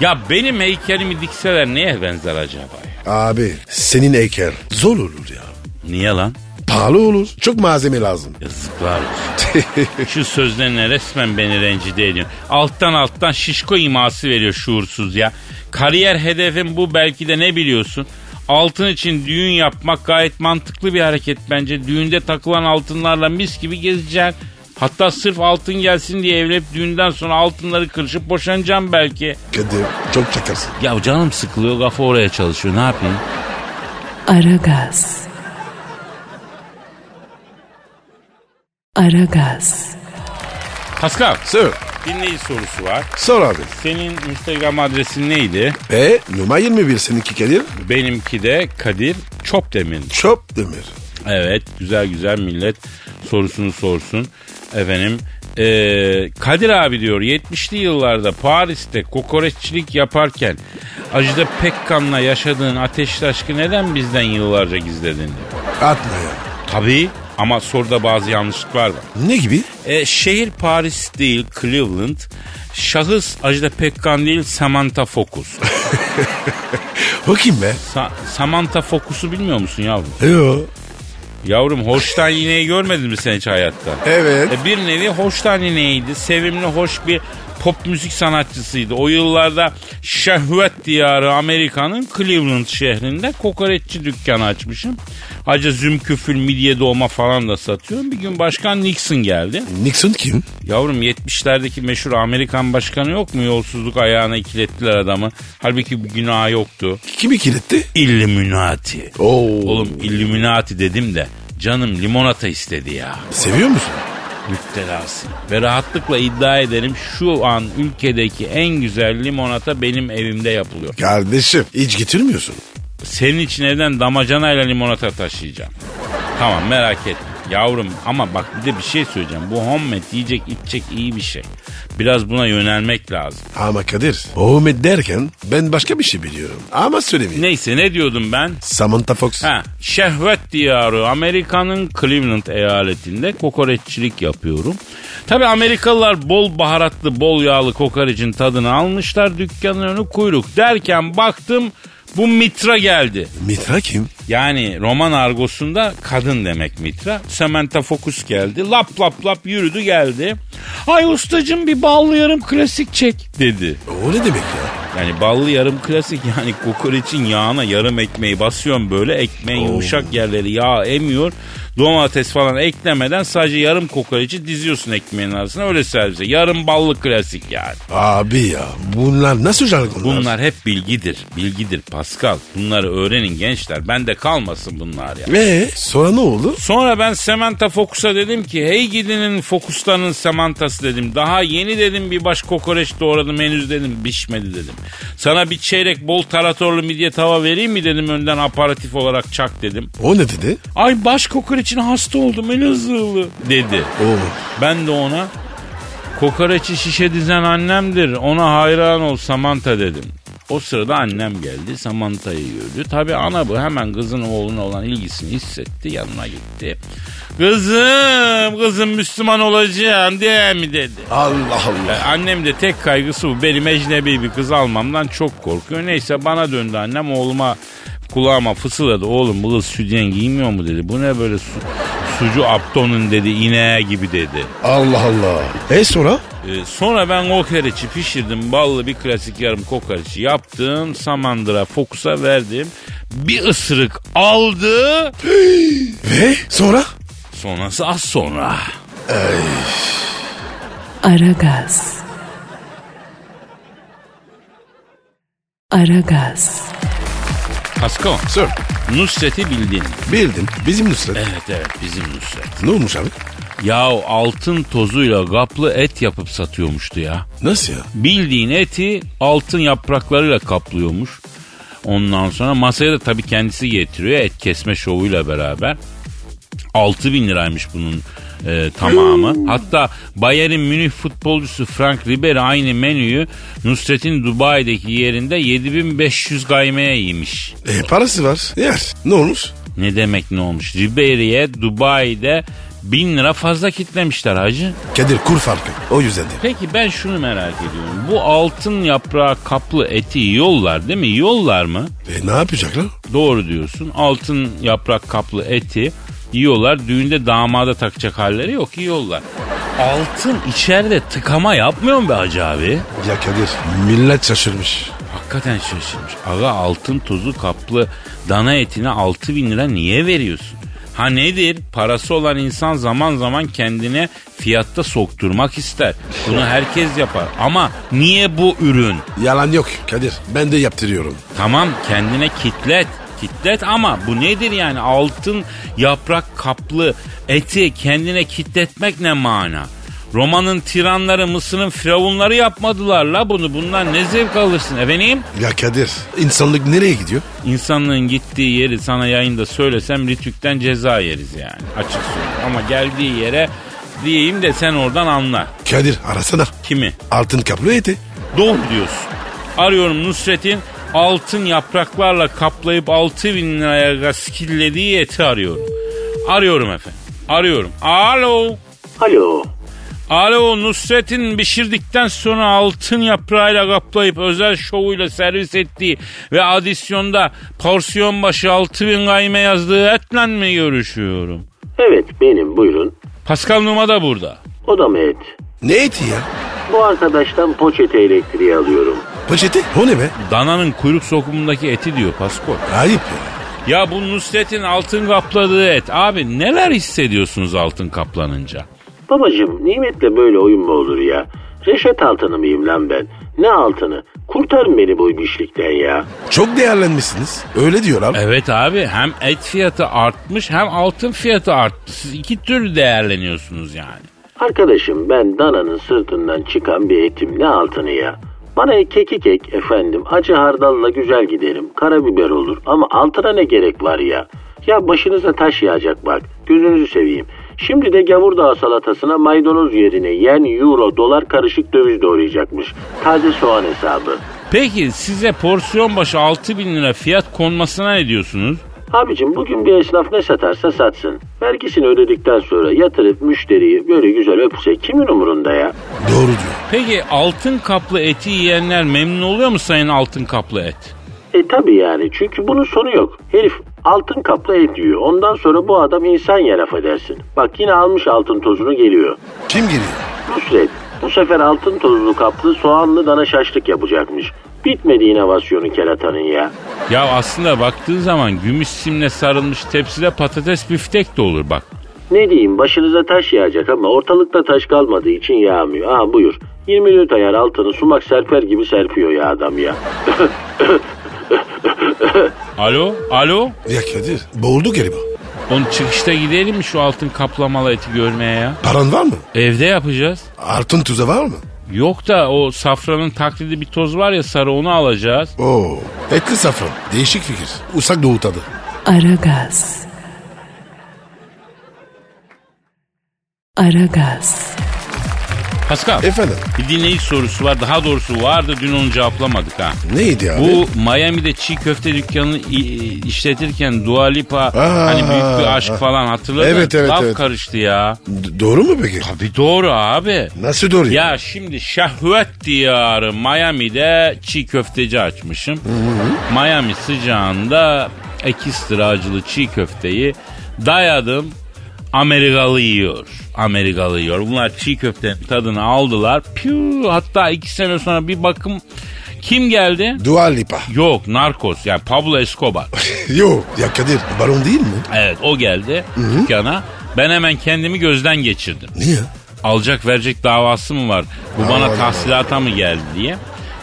S2: Ya benim heykelimi dikseler neye benzer acaba ya?
S3: Abi senin heykel zor olur ya.
S2: Niye lan?
S3: Pahalı olur. Çok malzeme lazım. [LAUGHS]
S2: Yazıklar olsun. Şu sözlerine resmen beni rencide ediyor. Alttan alttan şişko iması veriyor şuursuz ya. Kariyer hedefim bu belki de ne biliyorsun? Altın için düğün yapmak gayet mantıklı bir hareket bence. Düğünde takılan altınlarla mis gibi gezeceksin. Hatta sırf altın gelsin diye evlenip düğünden sonra altınları kırışıp boşanacağım belki.
S3: Kadir çok çakarsın.
S2: Ya canım sıkılıyor kafa oraya çalışıyor ne yapayım?
S1: Aragaz. Aragaz.
S2: Pascal
S3: Sor.
S2: dinleyici sorusu var.
S3: Sor abi.
S2: Senin Instagram adresin neydi?
S3: E numara 21 seninki Kadir.
S2: Benimki de Kadir Çopdemir.
S3: Çöp demir.
S2: Evet güzel güzel millet sorusunu sorsun. Efendim eee, Kadir abi diyor 70'li yıllarda Paris'te kokoreççilik yaparken Ajda Pekkan'la yaşadığın ateşli aşkı neden bizden yıllarca gizledin? diyor.
S3: Atma ya.
S2: Tabii ama soruda bazı yanlışlıklar var.
S3: Ne gibi?
S2: E, şehir Paris değil Cleveland. Şahıs Ajda Pekkan değil Samantha Fokus.
S3: Bakayım be.
S2: Sa- Samantha Fokus'u bilmiyor musun yavrum?
S3: Yo.
S2: Yavrum hoştan iğneyi görmedin mi sen hiç hayatta?
S3: Evet.
S2: E, bir nevi hoştan iğneydi. Sevimli hoş bir pop müzik sanatçısıydı. O yıllarda şehvet diyarı Amerika'nın Cleveland şehrinde kokoreççi dükkanı açmışım. Ayrıca zümküfül midye dolma falan da satıyorum. Bir gün başkan Nixon geldi.
S3: Nixon kim?
S2: Yavrum 70'lerdeki meşhur Amerikan başkanı yok mu? Yolsuzluk ayağına ikilettiler adamı. Halbuki bir günah yoktu.
S3: Kimi kilitti?
S2: Illuminati.
S3: Oo.
S2: Oğlum Illuminati dedim de canım limonata istedi ya.
S3: Seviyor musun?
S2: Müptelasın. Ve rahatlıkla iddia ederim şu an ülkedeki en güzel limonata benim evimde yapılıyor.
S3: Kardeşim hiç getirmiyorsun.
S2: Senin için evden damacanayla limonata taşıyacağım. Tamam merak etme. Yavrum ama bak bir de bir şey söyleyeceğim. Bu homemade yiyecek içecek iyi bir şey. Biraz buna yönelmek lazım.
S3: Ama Kadir, Muhammed derken ben başka bir şey biliyorum. Ama söylemeyeyim.
S2: Neyse ne diyordum ben?
S3: Samantha Fox.
S2: Ha, şehvet diyarı Amerika'nın Cleveland eyaletinde kokoreççilik yapıyorum. Tabi Amerikalılar bol baharatlı bol yağlı kokorecin tadını almışlar dükkanın önü kuyruk derken baktım bu mitra geldi.
S3: Mitra kim?
S2: Yani roman argosunda kadın demek Mitra. Samantha Fokus geldi. Lap lap lap yürüdü geldi. Ay ustacım bir ballı yarım klasik çek dedi.
S3: O ne demek ya?
S2: Yani ballı yarım klasik [LAUGHS] yani kokoreçin yağına yarım ekmeği basıyorsun böyle ekmeğin yumuşak yerleri yağ emiyor. Domates falan eklemeden sadece yarım kokoreçi diziyorsun ekmeğin arasına öyle servise. Yarım ballı klasik yani.
S3: Abi ya bunlar nasıl jargonlar?
S2: Bunlar hep bilgidir. Bilgidir Pascal. Bunları öğrenin gençler. Bende kalmasın bunlar ya.
S3: Ve sonra ne oldu?
S2: Sonra ben Samantha Fokus'a dedim ki hey gidinin Fokus'tanın Samantha'sı dedim. Daha yeni dedim bir baş kokoreç doğradım henüz dedim pişmedi dedim. Sana bir çeyrek bol taratorlu midye tava vereyim mi dedim önden aparatif olarak çak dedim.
S3: O ne dedi?
S2: Ay baş kokoreçine hasta oldum Elazığlı dedi.
S3: O
S2: Ben de ona kokoreçi şişe dizen annemdir ona hayran ol Samantha dedim. O sırada annem geldi Samantha'yı gördü. Tabi ana bu hemen kızın oğluna olan ilgisini hissetti yanına gitti. Kızım kızım Müslüman olacaksın değil mi dedi.
S3: Allah
S2: E,
S3: Allah.
S2: Annem de tek kaygısı bu. Benim ecnebi bir kız almamdan çok korkuyor. Neyse bana döndü annem oğluma kulağıma fısıldadı. Oğlum bu kız sütyen giymiyor mu dedi. Bu ne böyle su, sucu aptonun dedi ineğe gibi dedi.
S3: Allah Allah. E sonra?
S2: Ee, sonra ben kokoreçi pişirdim. Ballı bir klasik yarım kokoreçi yaptım. Samandıra fokusa verdim. Bir ısırık aldı.
S3: Ve sonra?
S2: Sonrası az sonra.
S1: Aragaz. Aragaz.
S2: Pasko.
S3: Sir.
S2: Nusret'i bildin.
S3: Bildim. Bizim Nusret.
S2: Evet evet bizim Nusret.
S3: Ne olmuş abi?
S2: Yahu altın tozuyla gaplı et yapıp satıyormuştu ya.
S3: Nasıl ya?
S2: Bildiğin eti altın yapraklarıyla kaplıyormuş. Ondan sonra masaya da tabii kendisi getiriyor et kesme şovuyla beraber. 6 bin liraymış bunun e, tamamı. Hatta Bayern'in Münih futbolcusu Frank Ribery aynı menüyü Nusret'in Dubai'deki yerinde 7500 gaymeye yemiş.
S3: E, parası var. Yer. Ne olmuş?
S2: Ne demek ne olmuş? Ribery'e Dubai'de 1000 lira fazla kitlemişler hacı.
S3: Kadir kur farkı. O yüzden de.
S2: Peki ben şunu merak ediyorum. Bu altın yaprağı kaplı eti yiyorlar değil mi? Yiyorlar mı?
S3: E, ne yapacaklar?
S2: Doğru diyorsun. Altın yaprak kaplı eti yiyorlar. Düğünde damada takacak halleri yok yiyorlar. Altın içeride tıkama yapmıyor mu be hacı abi?
S3: Ya Kadir millet şaşırmış.
S2: Hakikaten şaşırmış. Aga altın tozu kaplı dana etine 6 bin lira niye veriyorsun? Ha nedir? Parası olan insan zaman zaman kendine fiyatta sokturmak ister. Bunu herkes yapar. Ama niye bu ürün?
S3: Yalan yok Kadir. Ben de yaptırıyorum.
S2: Tamam kendine kitlet. Kitlet ama bu nedir yani altın yaprak kaplı eti kendine kitletmek ne mana? Roma'nın tiranları, Mısır'ın firavunları yapmadılar la bunu. Bundan ne zevk alırsın efendim?
S3: Ya Kadir insanlık nereye gidiyor?
S2: İnsanlığın gittiği yeri sana yayında söylesem Ritük'ten ceza yeriz yani açık söyleyeyim. Ama geldiği yere diyeyim de sen oradan anla.
S3: Kadir arasana.
S2: Kimi?
S3: Altın kaplı eti.
S2: Doğru diyorsun. Arıyorum Nusret'in altın yapraklarla kaplayıp 6 bin liraya skillediği eti arıyorum. Arıyorum efendim. Arıyorum. Alo.
S5: Alo.
S2: Alo Nusret'in pişirdikten sonra altın yaprağıyla kaplayıp özel şovuyla servis ettiği ve adisyonda porsiyon başı 6000 gayme yazdığı etle mi görüşüyorum?
S5: Evet benim buyurun.
S2: Pascal Numa da burada.
S5: O da mı et?
S3: Ne eti ya?
S5: Bu arkadaştan poçete elektriği alıyorum.
S3: Poşeti? O ne be?
S2: Dananın kuyruk sokumundaki eti diyor Pasko.
S3: Ayıp ya.
S2: Ya bu Nusret'in altın kapladığı et. Abi neler hissediyorsunuz altın kaplanınca?
S5: Babacım nimetle böyle oyun mu olur ya? Reşet altını mıyım lan ben? Ne altını? Kurtarın beni bu işlikten ya.
S3: Çok değerlenmişsiniz. Öyle diyorlar.
S2: Evet abi hem et fiyatı artmış hem altın fiyatı artmış. Siz iki türlü değerleniyorsunuz yani.
S5: Arkadaşım ben dananın sırtından çıkan bir etim ne altını ya. Bana kekik ek efendim acı hardalla güzel giderim karabiber olur ama altına ne gerek var ya. Ya başınıza taş yağacak bak gözünüzü seveyim. Şimdi de gavurdağ salatasına maydanoz yerine yen euro dolar karışık döviz doğrayacakmış. Taze soğan hesabı.
S2: Peki size porsiyon başı 6000 bin lira fiyat konmasına ne diyorsunuz?
S5: Abicim bugün bir esnaf ne satarsa satsın. Vergisini ödedikten sonra yatırıp müşteriyi böyle güzel öpse kimin umurunda ya?
S3: Doğru diyor.
S2: Peki altın kaplı eti yiyenler memnun oluyor mu sayın altın kaplı et?
S5: E tabi yani çünkü bunun sonu yok. Herif altın kaplı et yiyor. Ondan sonra bu adam insan ya laf edersin. Bak yine almış altın tozunu geliyor.
S3: Kim geliyor?
S5: Nusret bu sefer altın tozlu kaplı soğanlı dana şaşlık yapacakmış. Bitmedi inovasyonu keratanın ya.
S2: Ya aslında baktığın zaman gümüş simle sarılmış tepside patates biftek de olur bak.
S5: Ne diyeyim başınıza taş yağacak ama ortalıkta taş kalmadığı için yağmıyor. Aha buyur. 24 ayar altını sumak serper gibi serpiyor ya adam ya. [LAUGHS]
S2: Alo, alo.
S3: Ya Kadir boğuldu galiba.
S2: Onun çıkışta gidelim mi şu altın kaplamalı eti görmeye ya?
S3: Paran var mı?
S2: Evde yapacağız.
S3: Altın tuza var mı?
S2: Yok da o safranın taklidi bir toz var ya sarı onu alacağız.
S3: Oo. Etli safran. Değişik fikir. Usak Doğu tadı.
S1: Aragaz. Aragaz.
S2: Pascal
S3: Efendim
S2: bir dinleyici sorusu var daha doğrusu vardı dün onu cevaplamadık ha.
S3: neydi ya?
S2: Bu Miami'de çiğ köfte dükkanını i- işletirken Dua Lipa hani büyük bir aşk falan hatırladın.
S3: Evet, evet,
S2: Laf
S3: evet.
S2: karıştı ya.
S3: D- doğru mu peki?
S2: Tabii doğru abi.
S3: Nasıl doğru ya?
S2: Ya şimdi şehvet diyarı Miami'de çiğ köfteci açmışım. Miami sıcağında ekstra acılı çiğ köfteyi dayadım. Amerikalı yiyor. Amerikalı yiyor. Bunlar çiğ köftenin tadını aldılar. Piu, hatta iki sene sonra bir bakım kim geldi?
S3: Dua Lipa. [LAUGHS]
S2: Yok Narcos yani Pablo Escobar.
S3: Yok ya Kadir baron değil mi?
S2: Evet o geldi dükkana. Ben hemen kendimi gözden geçirdim.
S3: Niye?
S2: alacak verecek davası mı var? Bu
S3: Aman
S2: bana
S3: aman.
S2: tahsilata mı geldi diye.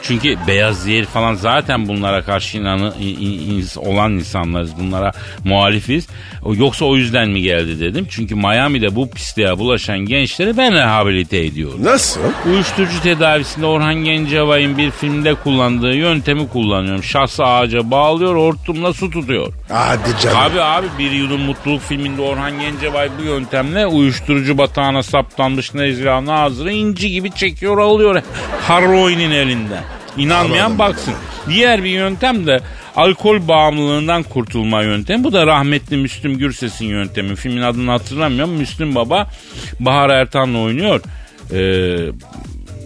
S2: Çünkü beyaz yer falan zaten bunlara karşı inanı, in- in- ins- olan insanlarız. Bunlara muhalifiz. O- Yoksa o yüzden mi geldi dedim. Çünkü Miami'de bu pisliğe bulaşan gençleri ben rehabilite ediyorum.
S3: Nasıl?
S2: Uyuşturucu tedavisinde Orhan Gencebay'ın bir filmde kullandığı yöntemi kullanıyorum. Şahsı ağaca bağlıyor, hortumla su tutuyor.
S3: Hadi canım.
S2: Abi abi bir yudum mutluluk filminde Orhan Gencebay bu yöntemle uyuşturucu batağına saplanmış Nezra Nazır'ı inci gibi çekiyor alıyor [LAUGHS] Harroin'in elinden. İnanmayan
S3: Anladım,
S2: baksın. Diğer bir yöntem de alkol bağımlılığından kurtulma yöntemi. Bu da rahmetli Müslüm Gürses'in yöntemi. Filmin adını hatırlamıyorum. Müslüm Baba Bahar Ertan'la oynuyor. Ee,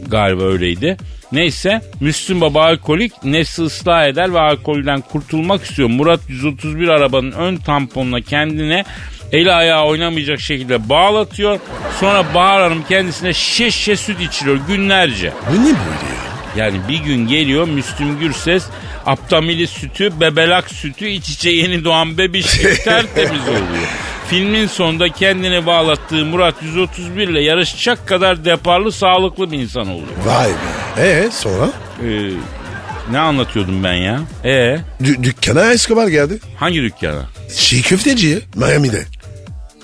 S2: galiba öyleydi. Neyse Müslüm Baba alkolik nefsi ıslah eder ve alkolden kurtulmak istiyor. Murat 131 arabanın ön tamponuna kendine eli ayağı oynamayacak şekilde bağlatıyor. Sonra Bahar Hanım kendisine şişe süt içiriyor günlerce.
S3: Bu ne böyle ya?
S2: Yani bir gün geliyor Müslüm Gürses Aptamili sütü, bebelak sütü, iç içe yeni doğan bebiş gibi tertemiz oluyor. Filmin sonunda kendini bağlattığı Murat 131 ile yarışacak kadar deparlı sağlıklı bir insan oluyor.
S3: Vay be. Ee sonra?
S2: Ee, ne anlatıyordum ben ya? E
S3: Dü- dükkana Escobar geldi.
S2: hangi dükkana?
S3: Çiğ köfteciye Miami'de.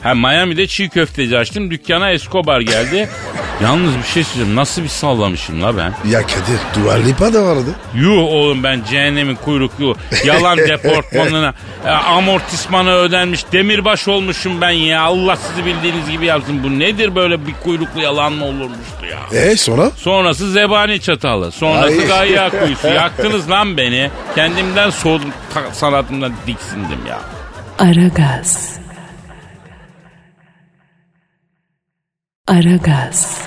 S2: Ha Miami'de çiğ köfteci açtım. Dükkana Escobar geldi. [LAUGHS] Yalnız bir şey söyleyeceğim. Nasıl bir sallamışım la ben?
S3: Ya Kadir Dua Lipa da vardı.
S2: Yuh oğlum ben cehennemin kuyruklu yalan deportmanına e, amortismanı ödenmiş demirbaş olmuşum ben ya. Allah sizi bildiğiniz gibi yapsın. Bu nedir böyle bir kuyruklu yalan mı olurmuştu ya?
S3: Ee sonra?
S2: Sonrası zebani çatalı. Sonrası
S3: Ay.
S2: gayya kuyusu. Yaktınız lan beni. Kendimden soğudum. ta- Sanatımdan diksindim ya.
S1: Aragaz. Aragaz.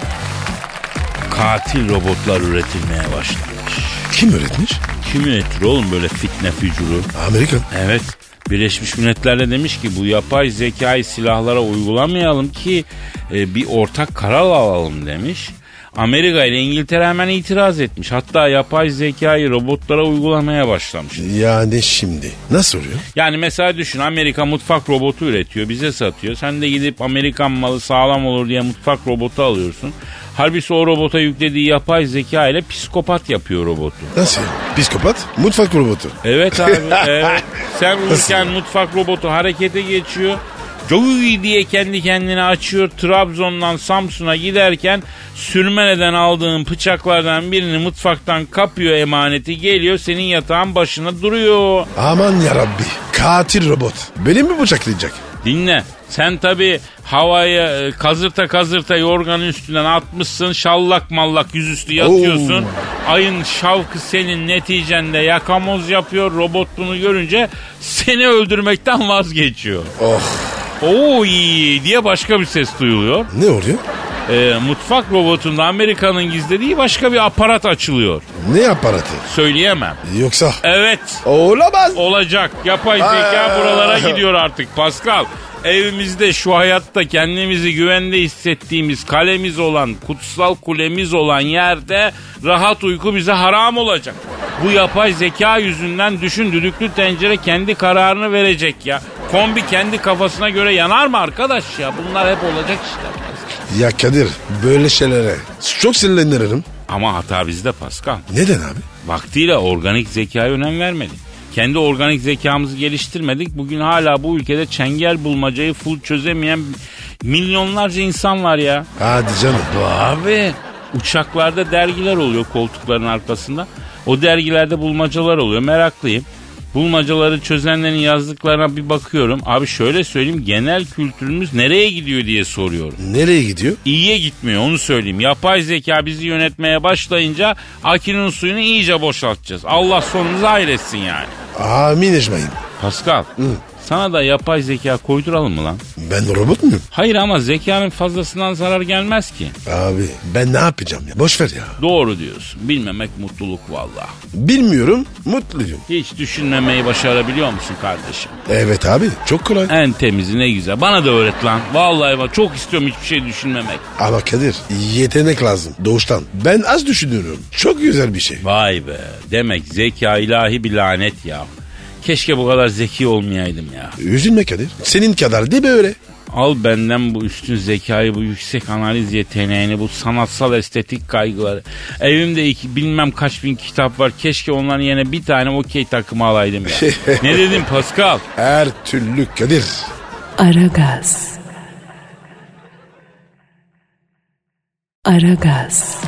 S2: katil robotlar üretilmeye başlamış.
S3: Kim öğretmiş?
S2: Kim üretir oğlum böyle fitne fücuru?
S3: Amerikan.
S2: Evet. Birleşmiş Milletler de demiş ki bu yapay zekayı silahlara uygulamayalım ki e, bir ortak karar alalım demiş. Amerika ile İngiltere hemen itiraz etmiş. Hatta yapay zekayı robotlara uygulamaya başlamış.
S3: Yani şimdi nasıl oluyor?
S2: Yani mesela düşün Amerika mutfak robotu üretiyor bize satıyor. Sen de gidip Amerikan malı sağlam olur diye mutfak robotu alıyorsun. Halbuki o robota yüklediği yapay zeka ile psikopat yapıyor robotu.
S3: Nasıl? Psikopat mutfak robotu.
S2: Evet abi evet. Sen uyurken mutfak robotu harekete geçiyor. Joey diye kendi kendine açıyor. Trabzon'dan Samsun'a giderken sürmeneden aldığın bıçaklardan birini mutfaktan kapıyor emaneti geliyor senin yatağın başına duruyor.
S3: Aman yarabbi. Katil robot. Beni mi bıçaklayacak?
S2: Dinle. Sen tabi havaya e, kazırta kazırta yorganın üstünden atmışsın. Şallak mallak yüzüstü yatıyorsun. Ayın şavkı senin neticende yakamoz yapıyor. Robot bunu görünce seni öldürmekten vazgeçiyor.
S3: Oh.
S2: Oo iyi diye başka bir ses duyuluyor.
S3: Ne oluyor?
S2: E, mutfak robotunda Amerika'nın gizlediği başka bir aparat açılıyor.
S3: Ne aparatı?
S2: Söyleyemem.
S3: Yoksa...
S2: Evet
S3: Olamaz.
S2: olacak. Yapay zeka
S3: Aa.
S2: buralara gidiyor artık Pascal. Evimizde şu hayatta kendimizi güvende hissettiğimiz kalemiz olan, kutsal kulemiz olan yerde rahat uyku bize haram olacak. Bu yapay zeka yüzünden düşün düdüklü tencere kendi kararını verecek ya. Kombi kendi kafasına göre yanar mı arkadaş ya? Bunlar hep olacak işte.
S3: Ya Kadir böyle şeylere çok sinirlenirim.
S2: Ama hata bizde Pascal.
S3: Neden abi?
S2: Vaktiyle organik zekaya önem vermedik. Kendi organik zekamızı geliştirmedik. Bugün hala bu ülkede çengel bulmacayı full çözemeyen milyonlarca insan var ya.
S3: Hadi canım.
S2: Abi uçaklarda dergiler oluyor koltukların arkasında. O dergilerde bulmacalar oluyor meraklıyım. Bulmacaları çözenlerin yazdıklarına bir bakıyorum. Abi şöyle söyleyeyim genel kültürümüz nereye gidiyor diye soruyorum
S3: Nereye gidiyor?
S2: iyiye gitmiyor onu söyleyeyim. Yapay zeka bizi yönetmeye başlayınca akünün suyunu iyice boşaltacağız. Allah sonunuzu hayretsin yani.
S3: Amin ecmain.
S2: Pascal sana da yapay zeka koyduralım mı lan?
S3: Ben robot muyum?
S2: Hayır ama zekanın fazlasından zarar gelmez ki.
S3: Abi ben ne yapacağım ya? Boş ver ya.
S2: Doğru diyorsun. Bilmemek mutluluk valla.
S3: Bilmiyorum. Mutluyum.
S2: Hiç düşünmemeyi başarabiliyor musun kardeşim?
S3: Evet abi çok kolay.
S2: En temizi ne güzel. Bana da öğret lan. Vallahi bak çok istiyorum hiçbir şey düşünmemek.
S3: Ama Kadir yetenek lazım doğuştan. Ben az düşünüyorum. Çok güzel bir şey.
S2: Vay be. Demek zeka ilahi bir lanet ya. Keşke bu kadar zeki olmayaydım ya.
S3: Üzülme Kadir. Senin kadar değil böyle.
S2: Al benden bu üstün zekayı, bu yüksek analiz yeteneğini, bu sanatsal estetik kaygıları. Evimde iki, bilmem kaç bin kitap var. Keşke onların yerine bir tane okey takımı alaydım ya. ne dedim Pascal?
S3: Her türlü Kadir.
S1: Aragaz. Aragaz.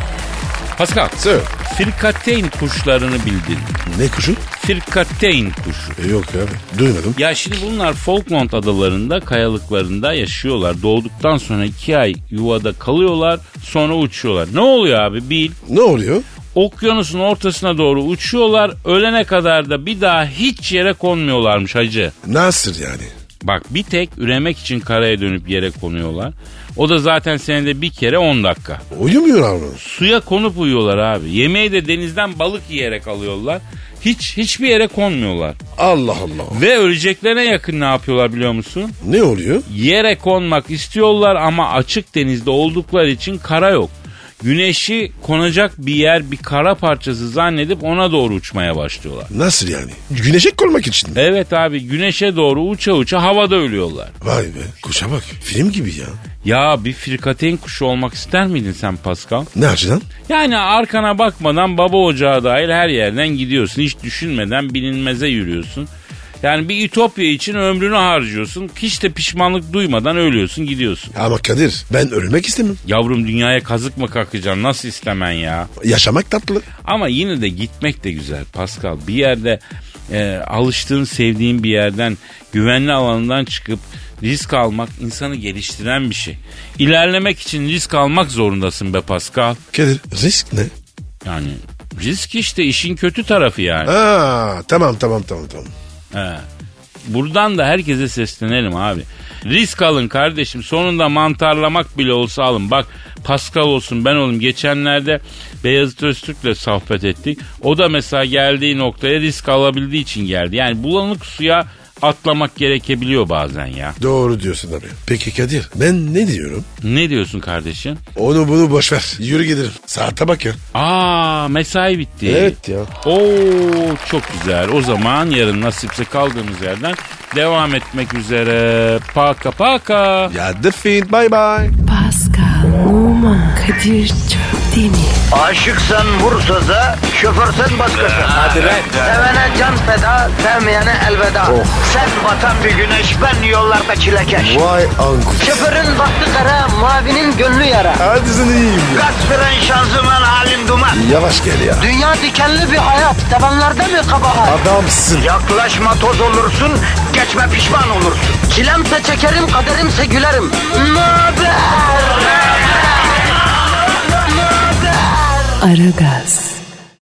S2: Pascal,
S3: Sir.
S2: firkateyn kuşlarını bildin.
S3: Ne kuşu?
S2: Firkateyn kuşu.
S3: E, yok abi duymadım.
S2: Ya şimdi bunlar Falkland adalarında kayalıklarında yaşıyorlar. Doğduktan sonra iki ay yuvada kalıyorlar sonra uçuyorlar. Ne oluyor abi bil.
S3: Ne oluyor?
S2: Okyanusun ortasına doğru uçuyorlar. Ölene kadar da bir daha hiç yere konmuyorlarmış hacı.
S3: Nasıl yani?
S2: Bak bir tek üremek için karaya dönüp yere konuyorlar. O da zaten senede bir kere 10 dakika.
S3: Uyumuyorlar mı?
S2: Suya konup uyuyorlar abi. Yemeği de denizden balık yiyerek alıyorlar. Hiç hiçbir yere konmuyorlar.
S3: Allah Allah.
S2: Ve öleceklerine yakın ne yapıyorlar biliyor musun?
S3: Ne oluyor?
S2: Yere konmak istiyorlar ama açık denizde oldukları için kara yok. Güneşi konacak bir yer bir kara parçası zannedip ona doğru uçmaya başlıyorlar.
S3: Nasıl yani? Güneşe koymak için mi?
S2: Evet abi güneşe doğru uça uça havada ölüyorlar.
S3: Vay be kuşa bak. Film gibi ya.
S2: Ya bir frikateyn kuşu olmak ister miydin sen Pascal?
S3: Ne açıdan?
S2: Yani arkana bakmadan baba ocağı dahil her yerden gidiyorsun. Hiç düşünmeden bilinmeze yürüyorsun. Yani bir ütopya için ömrünü harcıyorsun. Hiç de pişmanlık duymadan ölüyorsun gidiyorsun.
S3: Ama Kadir ben ölmek istemem.
S2: Yavrum dünyaya kazık mı kalkacaksın nasıl istemen ya?
S3: Yaşamak tatlı.
S2: Ama yine de gitmek de güzel Pascal. Bir yerde e, alıştığın, sevdiğin bir yerden, güvenli alanından çıkıp risk almak insanı geliştiren bir şey. İlerlemek için risk almak zorundasın be Pascal.
S3: Kadir risk ne?
S2: Yani risk işte işin kötü tarafı yani.
S3: Aa, tamam tamam tamam tamam.
S2: He. Buradan da herkese seslenelim abi. Risk alın kardeşim. Sonunda mantarlamak bile olsa alın. Bak Pascal olsun ben oğlum. Geçenlerde Beyazıt Öztürk'le sohbet ettik. O da mesela geldiği noktaya risk alabildiği için geldi. Yani bulanık suya atlamak gerekebiliyor bazen ya.
S3: Doğru diyorsun abi. Peki Kadir ben ne diyorum?
S2: Ne diyorsun kardeşim?
S3: Onu bunu boş ver. Yürü gidelim. Saate bak ya.
S2: Aa mesai bitti.
S3: Evet ya.
S2: Oo çok güzel. O zaman yarın nasipse kaldığımız yerden devam etmek üzere. Paka paka.
S3: Ya defeat bye bye.
S1: Pascal, Oman, Kadir çok değil mi?
S6: Aşıksan vursa da, şoförsen başkasın. Hadi
S2: lan.
S6: Sevene can feda, sevmeyene elveda. Sen batan bir güneş, ben yollarda çilekeş.
S3: Vay anku.
S6: Şoförün baktı kara, mavinin gönlü yara.
S3: Hadi sen iyiyim ya.
S6: Kasperen şanzıman halin duman.
S3: Yavaş gel ya.
S6: Dünya dikenli bir hayat, sevenlerde mi kabahar?
S3: Adamsın.
S6: Yaklaşma toz olursun, geçme pişman olursun. Çilemse çekerim, kaderimse gülerim. Möber!
S1: Aragaz.